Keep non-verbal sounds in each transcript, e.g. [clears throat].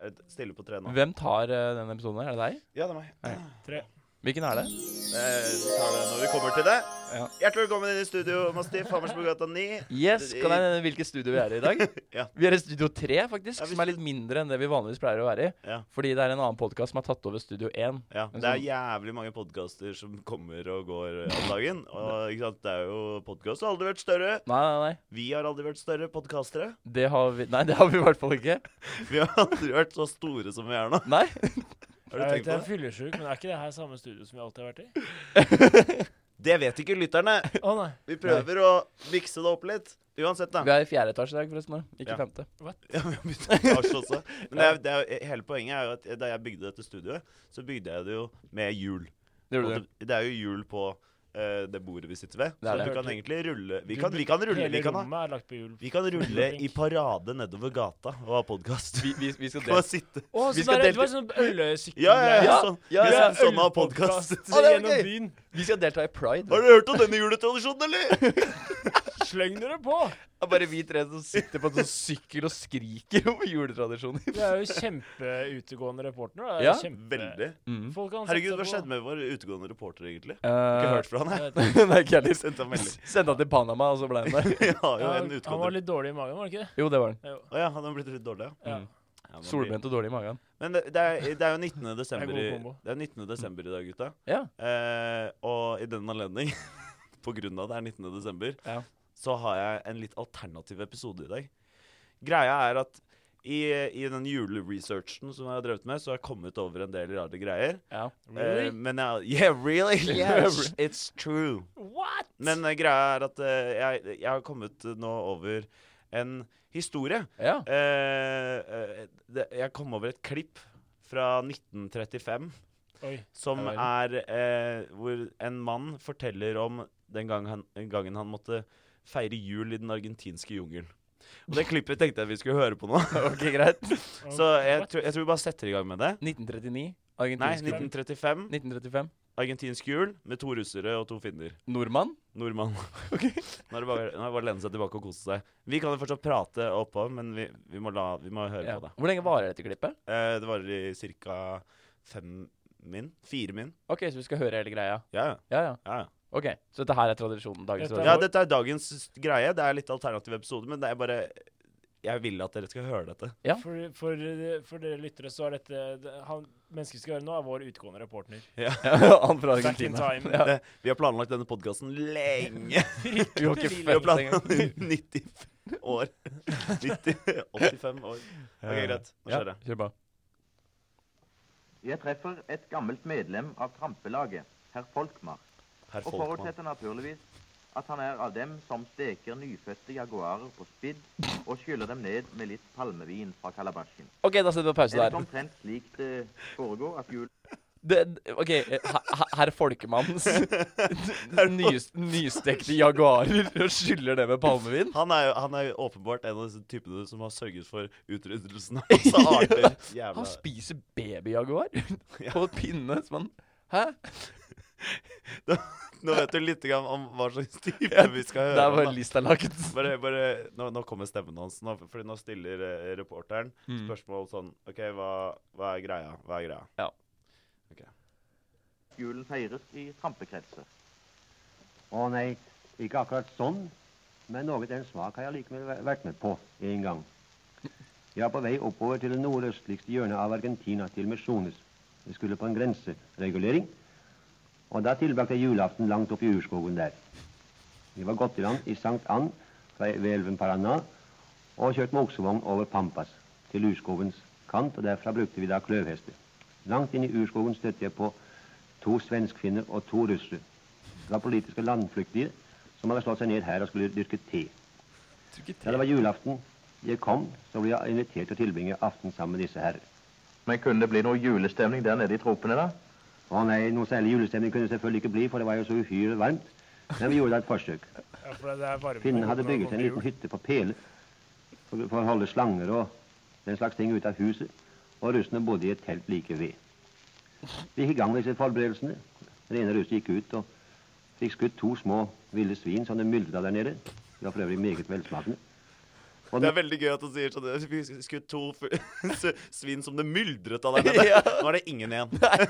Jeg stiller på tre nå. Hvem tar eh, denne episoden? her? Er det deg? Ja, det er meg. Nei. Tre. Hvilken er det? Eh, vi tar det når vi kommer til det. Ja. Hjertelig velkommen inn i studio, Mastiff. Hammersbugata 9. Yes, Kan jeg nevne hvilket studio vi er i i dag? [laughs] Ja. Vi er i Studio 3, faktisk, Ja, hvis som er litt mindre enn det vi vanligvis pleier å være i. Ja. Fordi det er en annen podkast som har tatt over Studio 1. Ja, Men Det er sånn- jævlig mange podkaster som kommer og går om dagen. Og ikke sant, det er jo podkast har aldri vært større. Nei, nei, nei. Vi har aldri vært større podkastere. Det har vi, nei, det har vi i hvert fall ikke. Vi har aldri vært så store som vi er nå. Nei. Har du tenkt jeg vet jeg på er det? fyllesyk, men er ikke det her samme studio som vi alltid har vært i? Det vet ikke lytterne. [laughs] Å nei. Vi prøver å mikse det opp litt. Uansett, Vi da. er i fjerde etasje i dag, forresten. nå, Ikke Ja. femte. Ja, vi har byttet etasje også. Men det er, det er, hele poenget er jo at da jeg bygde dette studioet, så bygde jeg det jo med hjul. Og Det gjorde du. Det det er jo hjul på eh, det bordet vi sitter ved. Det er Så det. du kan egentlig rulle Vi Du kan, vi kan rulle, Hele vi kan ha rommet er lagt på hjul. Vi kan rulle i parade nedover gata og ha podkast. [laughs] Vi, vi, vi skal Kan bare dele sitte Å, Vi så skal der, delte- det var sånn ølsykkel Ja, ja, ja. Ja, Sånn, ja, vi ja. skal sånn ha podkast. Å, det er Gjennom gøy. byen. Vi skal delta i [laughs] Pride. Har du hørt om denne juletradisjonen, [laughs] eller? [laughs] Sleng dere på! Det er bare vi tre som sitter på en sånn sykkel og skriker [laughs] om juletradisjoner. Du er jo kjempeutegående reporter. Da. Ja, Kjempe... Veldig. Mm. Folk kan Herregud, sette hva på. skjedde med vår utegående reporter, egentlig? Ikke Uh, hørt fra han, jeg. [laughs] Jeg vet ikke. [laughs] Nei, ikke Jeg heller. sendte han melding. [laughs] Sendte han til Panama, og så ble han der. Jeg har jo Ja, en han var utegående litt dårlig i magen, var han ikke det? Jo, det var han. Jo. Å ja, han har blitt litt dårlig, ja. Ja. Mm. ja man blir- Solbrent og dårlig i magen. Men det, det, er, det er jo 19. desember, Det i, er god kombo. det er 19. desember i dag, gutta. Ja. Eh, og i den anledning, [laughs] på grunn av det er 19. desember, Ja. så har jeg en litt alternativ episode i dag. Greia er at i, i den juleresearchen som jeg har drevet med, så har jeg kommet over en del rare greier. ja. Eh, men jeg, [laughs] yeah, really? [laughs] Yes, it's true. What?! Men eh, greia er at eh, jeg, jeg har kommet eh, nå over en historie. ja. [laughs] Eh, eh, det, jeg kom over et klipp fra 1935 Oi. som Ja er eh, hvor en mann forteller om den gang han, den gangen han måtte feire jul i den argentinske jungelen. Og det klippet tenkte jeg vi skulle høre på [laughs] nå. Ok, greit. Så jeg, tror- jeg tror vi bare setter i gang med det. 1939. Nei, Argentinsk jul. 1935. 1935. Argentinsk jul med to russere og to finner. Nordmann. Nordmann. [laughs] Nå er det bare, nå er det bare å lene seg tilbake og kose seg. Vi kan jo fortsatt prate oppå, men vi, vi, må, la, vi må høre Ja. på det. Hvor lenge varer dette klippet? Eh, det varer i ca. fem min. Fire min. Ok, så vi skal høre hele greia. Ja, ja, Ja, ja. ja, ja. Ok, Så dette her er tradisjonen? dagens Dette tradisjon. Ja, dette er dagens greie. Det er litt alternativ episode, men det er bare Jeg vil at dere skal høre dette. Ja. For, for, for dere lyttere så er dette det- han, Mennesket vi skal høre nå, er vår utegående reporter. [laughs] Ja, han fra Back in Argentina. time. Ja. Det- Vi har planlagt denne podkasten [laughs] lenge. Vi har ikke Vi Vi har følt engang. planlagt [laughs] den i 90 år. 90, 85 år. Ok, greit. Nå Ja, skjer det. kjør på. Jeg treffer et gammelt medlem av trampelaget, herr Folkmark, Herr og Folkmann. forutsetter naturligvis at han er av dem som steker nyfødte jaguarer på spidd og skyller dem ned med litt palmevin fra kalabasjen. Ok, da setter vi pause Er det der. omtrent slik det foregår at jul... Det, det- ok, eh, her- Herr [laughs] [laughs] Folkemanns nys, nystekte jaguarer og skyller det med palmevin? Han er, jo, han er jo åpenbart en av disse typene som har sørget for utryddelsen [laughs] av masse arter. Jævla Han spiser babyjaguar på pinne som han Hæ? Nå vet du litt grann om hva slags type Ja, vi skal høre. Der om, da. var lista laget. Bare, bare, nå, nå kommer stemmen hans. Nå, fordi nå stiller eh, reporteren Mm. spørsmål sånn OK, hva, hva er greia? Hva er greia? julen feires i trampekretser. Å nei, ikke akkurat sånn, men noe den smak har jeg likevel væ- vært med på en gang. Jeg var på vei oppover til det nordøstligste hjørnet av Argentina, til Misjones. Jeg skulle på en grenseregulering, og da tilbrakte jeg julaften langt opp i urskogen der. Vi var gått i land i Sankt Ann fra E- ved elven Paraná og kjørt med oksevogn over Pampas til urskogens kant, og derfra brukte vi da kløvhester. Langt inn i urskogen støtte jeg på to svenskfinner og to russere. Det var politiske landflyktige som hadde slått seg ned her og skulle dyrke te. Da det var julaften jeg kom, så ble jeg invitert til å tilbringe aften sammen med disse her. Men kunne det bli noe julestemning der nede i tropene da? Å nei, noe særlig julestemning kunne det selvfølgelig ikke bli, for det var jo så uhyre varmt. Men vi gjorde da et forsøk. Ja, for det er varme Finnen hadde når det bygget en kommer liten jul. hytte på Pele for, for å holde slanger og den slags ting ute av huset, og russene bodde i et telt like ved. Vi gikk i gang med disse forberedelsene. Den ene russen gikk ut og fikk skutt to små ville svin som det myldret av der nede. De var for øvrig meget velsmakende. Og Det er den, veldig gøy at han sier sånn Vi skutt to fu- [laughs] s- svin som det myldret av der nede. Nå er det ingen igjen. Nei,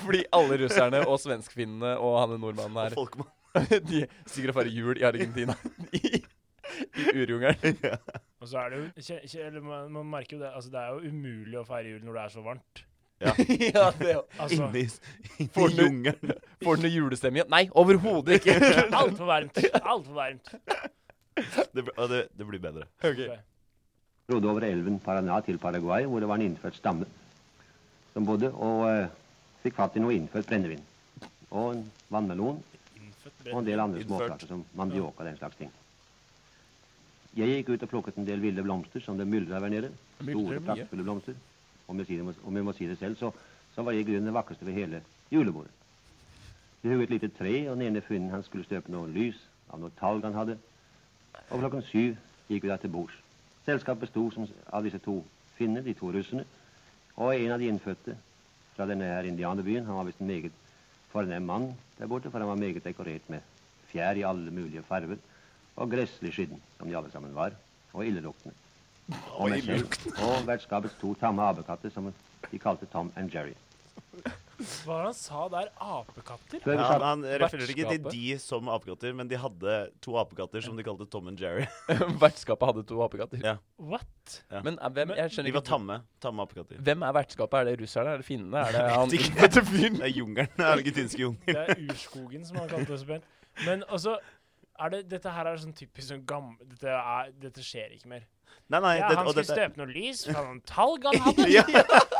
fordi alle russerne og svenskfinnene og han nordmannen Og her folk må [laughs] De stikker og feirer jul i Argentina. [laughs] I, i urjungelen. [laughs] Og så er det jo kje- kje- eller man, man merker jo det altså det er jo umulig å feire jul når det er så varmt. [laughs] ja, det er jo- Altså, [laughs] inni inni Får du- jungelen. Får den noe julestemme igjen? Nei, overhodet ikke. [laughs] altfor varmt. Altfor varmt. Det, bl- og det, det blir bedre. Ok. rodde over elven Paraná til Paraguay, hvor det var en innfødt stamme som bodde og eh, fikk fatt i noe innfødt brennevin. Og en vannmelon Innfødt og en brent. del andre Innført. småsaker som mandioka og den slags ting. Jeg gikk ut og plukket en del ville blomster som det myldra der nede. Store, Myldrer mye. praktfulle blomster. Om jeg, sier det, må- om jeg må si det selv, så, så var jeg i grunnen det vakreste ved hele julebordet. Vi hugget et lite tre, og den ene finnen han skulle støpe noe lys av noe talg han hadde. Og klokken syv gikk vi da til bords. Selskapet besto som s- av disse to finnene, de to russerne, og en av de innfødte fra denne her indianerbyen. Han var visst en meget fornem mann der borte, for han var meget dekorert med fjær i alle mulige farver, og gresslig skitten, som de alle sammen var, og illeluktende. Og meg selv, og vertskapets to tamme apekatter, som de kalte Tom and Jerry. Hva var det han sa der? Apekatter? Før vi Ja, satt, han, han refererer ikke til Vertskapet. de som apekatter, men de hadde to apekatter som de kalte Tom and Jerry. Vertskapet hadde to apekatter. Ja. What? Men er, hvem, jeg skjønner De var ikke tamme. Tamme apekatter. Hvem er vertskapet? Er det russerne? Er det finnene? Er det han vet ikke. innfødte fyren? Det er jungelen. [laughs] Den argentinske jungelen. Det er urskogen som han kalte det så pent. Men altså er det, dette her er sånn typisk sånn gammel dette, er, dette skjer ikke mer. Nei, nei. Ja, det- han og skulle dette- støpe noe lys fra noen talg han hadde. [laughs]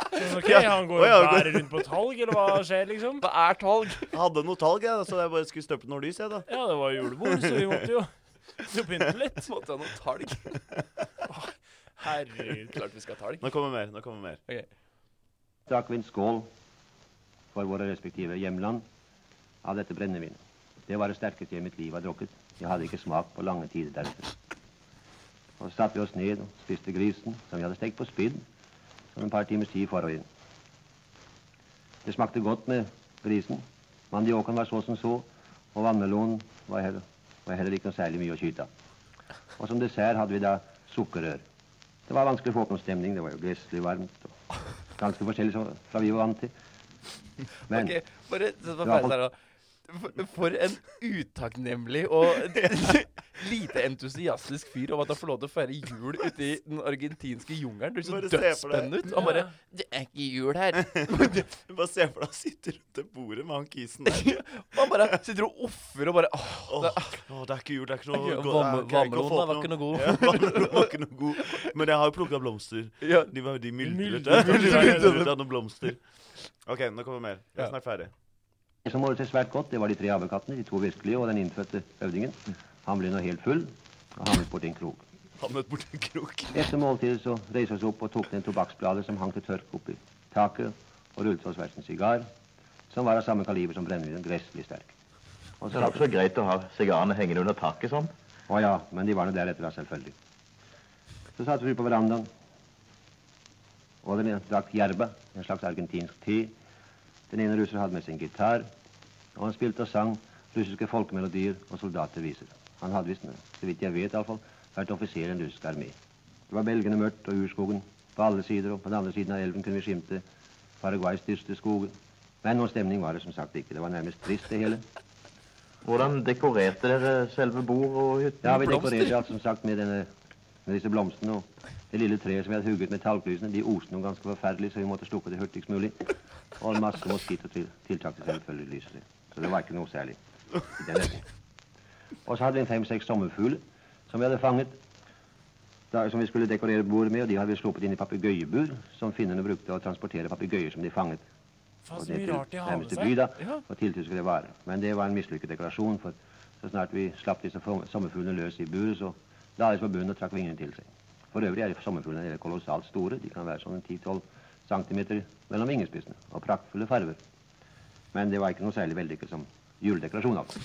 Ja. Sånn, ok, Ja. Han Å, går og ja, bærer rundt på talg, eller hva skjer, liksom? Hva er talg? [laughs] Jeg hadde noe talg, jeg, så jeg bare skulle støpe noe lys, jeg, da. Ja, det var julebord, så vi måtte jo så pynte litt. Måtte ha noe [laughs] talg. Herregud. Klart vi skal ha talg. Nå kommer mer. nå kommer mer. [laughs] drakk vi en skål for våre respektive hjemland av dette brennevinet. Det var det sterkeste jeg i mitt liv har drukket. Jeg hadde ikke smak på lange tider deretter. Og så satte vi oss ned og spiste grisen, som vi hadde stekt på spidd, som en par timers tid forrige. Det smakte godt med grisen. Mandiokaen var så som så, og vannmelonen var heller, var heller ikke noe særlig mye å skyte av. Og som dessert hadde vi da sukkerrør. Det var vanskelig å få opp noen stemning. Det var jo gresslig varmt. og Ganske forskjellig så- fra vi var vant til. Men Ok, bare sett på Du har feil der, da. For- For en utakknemlig og [laughs] [laughs] lite entusiastisk fyr om at han får lov til å feire jul ute i den argentinske jungelen. Det Bare høres se så for dødsspennende ut. Han bare Ja. 'Det er ikke jul her'. Bare se for deg å sitte rundt det bordet med han kisen der. Og [laughs] han bare sitter og offer og bare åh, Åh, det åh, det er ikke jul, det er ikke er noe godt- ikke- vann- det er ikke- jeg vannmelonen har var ikke [laughs] fått noe god. Ja, vannmelonen var ikke noe god. Men jeg har jo plukka blomster. [laughs] ja, De, var, de myldret myldret- De myldret- myldret av noen blomster. OK, nå kommer mer. Jeg er Ja. snart ferdig. Det som året til svært godt, det var de tre havekattene, de to virkelige og den innfødte høvdingen. Han ble nå helt full og havnet borti en krok. Havnet [laughs] borti en krok. Etter måltidet så reiste vi oss opp og tok ned tobakksbladet som hang til tørk oppi taket, og rullet oss hver sin sigar, som var av samme kaliber som brennevinen, gresslig sterk. Og Så så er det også greit å ha sigarene hengende under taket sånn. Å ja, men de var nå deretter, da, selvfølgelig. Så satt vi på verandaen, og den ene drakk jerba, en slags argentinsk te. Den ene russer hadde med sin gitar, og han spilte og sang russiske folkemelodier og soldaterviser. Han hadde visst, så vidt jeg vet iallfall, vært offiser i den russiske armé. Det var belgende mørkt og urskogen på alle sider, og på den andre siden av elven kunne vi skimte Paraguays dystre skoger. Men noen stemning var det som sagt ikke. Det var nærmest trist, det hele. Hvordan dekorerte dere selve bord og hytte? Ja, vi Blomster. dekorerte alt som sagt med, denne, med disse blomstene og det lille treet som vi hadde hugget med talglysene. De oste noe ganske forferdelig, så vi måtte slukke det hurtigst mulig. Og en masse moskitotiltak til selvfølgelig lysere. Så det var ikke noe særlig i den retning. Og så hadde vi en fem-seks sommerfugler som vi hadde fanget, da, som vi skulle dekorere bordet med, og de hadde vi sluppet inn i papegøyebur, som finnene brukte å transportere papegøyer som de fanget Faen, og så ned mye til rart de har med nærmeste seg. by, da, Ja. og tiltyske det var. Men det var en mislykket dekorasjon, for så snart vi slapp disse fo- sommerfuglene løs i buret, så la de seg på bunnen og trakk vingene til seg. For øvrig er sommerfuglene nede kolossalt store. De kan være sånn 10-12 cm mellom vingespissene, og praktfulle farver. Men det var ikke noe særlig vellykket som juledekorasjon, altså.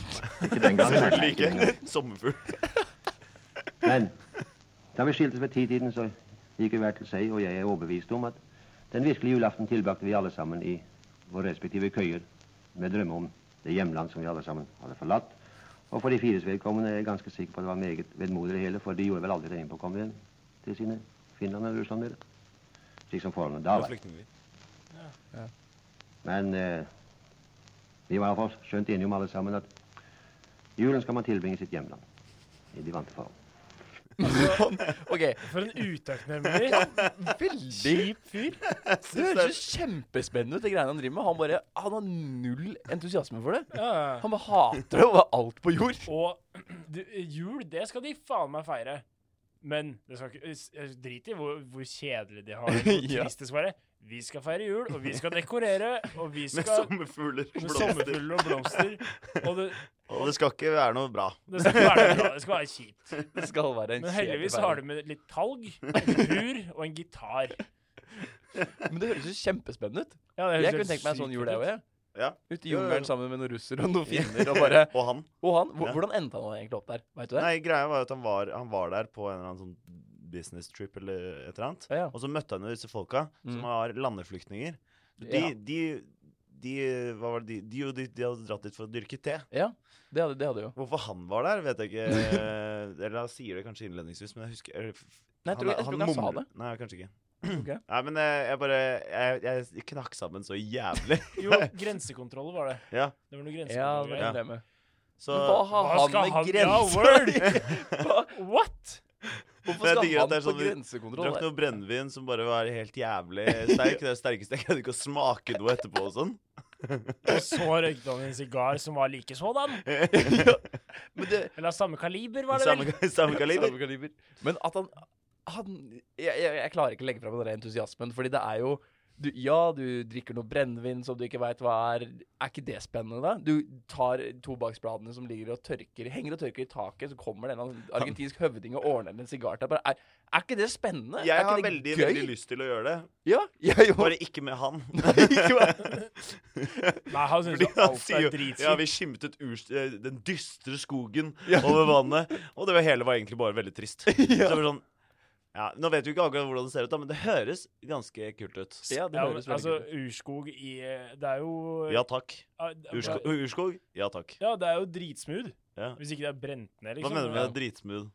Ikke den gangen. Selvfølgelig ikke. Sommerfugl. Men da vi skiltes ved titiden, så gikk vi hver til seg, og jeg er overbevist om at den virkelige julaften tilbrakte vi alle sammen i våre respektive køyer med drømme om det hjemland som vi alle sammen hadde forlatt. Og for de fires vedkommende er jeg ganske sikker på at det var meget vedmodig det hele, for de gjorde vel aldri det innpåkommende igjen. til sine Finland- og Russlandere. Slik som forholdene da Med var. flyktninger. Men eh, vi var iallfall skjønt enige om alle sammen at julen skal man tilbringe i sitt hjemland. I de vante forhold. sånn. OK. For en utakknemlig, Veldig kjip fyr. Det høres jo kjempespennende ut, det greiene han driver med. Han bare, han har null entusiasme for det. Ja. Han bare hater det over alt på jord. [laughs] Og du, jul, det skal de faen meg feire. Men det skal ikke, s- eh, drit i hvor, hvor kjedelig de har det, [laughs] hvor Ja. trist det skal være. Vi skal feire jul, og vi skal dekorere, og vi Med sånn skal sommerfugler. med blomster. sommerfugler og blomster. Og det, Og det skal ikke være noe bra. det skal ikke være noe bra. Det skal være kjipt. Det skal være en Men heldigvis har du med litt talg, en bur og en gitar. Men det høres jo kjempespennende ut. Ja, det høres Jeg helt kunne tenkt meg en sykt sånn jul, jeg ut. òg. Ja. Jo, Ute i jo, jo. jungelen sammen med noen russere og noen finner og bare Og han. [laughs] Og han, hvor- Ja. hvordan endte han egentlig opp der? Vet du det? Nei, greia var jo at han var, han var der på en eller annen sånn business trip eller et eller annet. Ja, ja. Og så møtte han jo disse folka Mm. som var landeflyktninger. De, Ja. de, de, hva var det, de, de, jo, de, de hadde dratt dit for å dyrke te. Ja, det hadde, det hadde jo. Hvorfor han var der, vet jeg ikke. [laughs] Eller han sier det kanskje innledningsvis, men jeg husker eller, f- Nei, jeg tror, jeg tror ikke han sa mumler- det. Nei, kanskje ikke. Ok. [clears throat] Nei, men eh, jeg bare Jeg, jeg knakk sammen så [laughs] jævlig. Jo, grensekontroller var det. ja. Det var noe Ja, det grensekontroll. var Ja. problemet. Så Men hva har Hva skal han med han- Ja, grense [laughs] Hva- What?! Hvorfor Men jeg skal digger at han det er på sånn- grensekontroll? drakk [laughs] noe brennevin som bare var helt jævlig sterk. Det er det sterkeste jeg greide ikke å smake noe etterpå og sånn. Og så røykte han en sigar som var like sådan. Men det, Eller av samme kaliber, var det vel? Samme, [laughs] samme kaliber. Samme kaliber. Men at han, han jeg, jeg, jeg klarer ikke å legge fram den der entusiasmen, fordi det er jo du, Ja, du drikker noe brennevin som du ikke veit hva er. Er ikke det spennende, da? Du tar tobakksbladene som ligger og tørker, henger og tørker i taket, så kommer det en eller annen argentinsk høvding og ordner en sigar til deg. Bare, Er, er ikke det spennende? Jeg er har ikke det veldig, gøy? veldig lyst til å gjøre det. Ja, jeg jo. [laughs] Bare ikke med han. Nei, han syns [laughs] Fordi han alt sier er jo Ja, dritskitt. vi skimtet urs- eh, den dystre skogen over vannet. Og det var hele var egentlig bare veldig trist. Så det var sånn ja, Nå vet vi ikke akkurat hvordan det ser ut, da, men det høres ganske kult ut. Ja, det Ja, men, høres veldig altså, kult ut. urskog i eh, Det er jo Ja takk. Ah, det- Urskog, urskog? Ja takk. Ja, det er jo dritsmooth. Ja. Hvis ikke det er brent ned, Hva liksom. mener du Ja. med dritsmooth?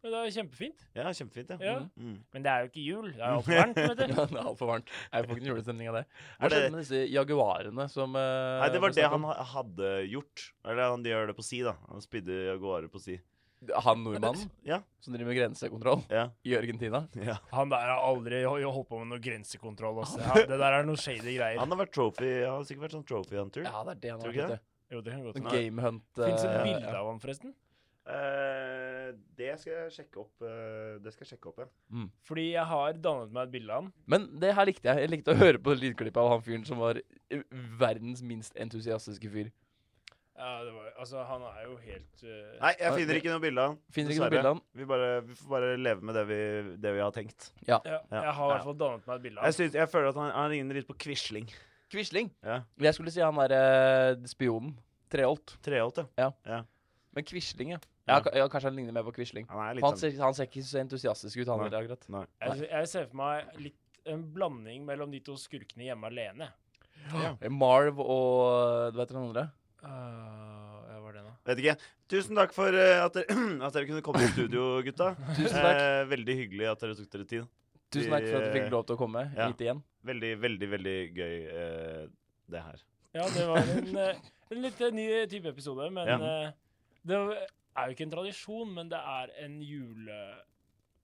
Men det er jo kjempefint. Ja, kjempefint, ja. Ja. Mm. Men det er jo ikke jul. Det [laughs] er jo altfor varmt, vet du. Ja, det er altfor varmt. Jeg får ikke noen julestemning av det. Hva Er det- skjedde med disse jaguarene som eh, Nei, det var snakk det om? han ha- hadde gjort. Eller han de gjør det på si, da. Han spydde jaguarer på si. Han nordmannen Ja. som driver med grensekontroll Ja. i Argentina? ja. Han der har aldri ho- holdt på med noe grensekontroll. Altså. Ja, det der er noe shady greier. Han har vært trophy Han har sikkert vært sånn trophy hunter. Ja, det er det han Tror du har ikke vært ute. Jo, det kan godt Sånn hende. gamehunt. Fins et eh, bilde ja. av han, forresten. Eh, det skal jeg sjekke opp. eh, det skal jeg sjekke opp, ja. Fordi jeg har dannet meg et bilde av han. Men det her likte jeg. Jeg likte å høre på lydklippet av han fyren som var eh, verdens minst entusiastiske fyr. Ja, det var, altså, han er jo helt eh, Nei, jeg Ah, finner det- ikke noe bilde av han. Finner ikke noe Dessverre. bilde av han. Vi, bare, vi får bare leve med det vi, det vi har tenkt. ja, Ja. Jeg har i Ja. hvert fall dannet meg et bilde av Jeg, han. synes, jeg føler at han, han ligner litt på Quisling. Quisling. Ja. Jeg skulle si han derre spionen. Treholt. Treholt, ja. Men Quisling, ja. Ja. Ja, ka- ja. Kanskje han ligner mer på Quisling. Han er litt Han sånn. ser, han ser ikke så entusiastisk ut, han Nei. heller, akkurat. Nei. Jeg, jeg ser for meg litt en blanding mellom de to skurkene hjemme alene. Eh, Marv og eh, Du vet den andre? Uh, ja, hva er det nå? Vet ikke. Tusen takk for eh, at, dere, [clears throat] at dere kunne komme i studio, gutta. Tusen takk. [laughs] Eh, veldig hyggelig at dere tok dere tid. Tusen takk for at du fikk lov til å komme Eh, Ja. hit igjen. Veldig, veldig, veldig gøy, eh, det her. Ja, det var en, [laughs] eh, en litt eh, ny type episode, men Ja. eh, det er jo ikke en tradisjon, men det er en jule...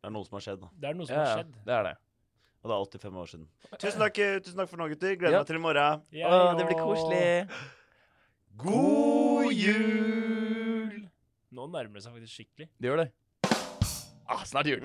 Det er noe som har skjedd, da. Det er noe som Ja, har ja, skjedd. det er det. Og det er 85 år siden. Tusen takk, eh, tusen takk for nå, gutter. Gleder Ja. meg til i morgen. Jeg Å, det blir og- koselig. God jul! Nå nærmer det seg faktisk skikkelig. Det gjør det. Ah, snart jul.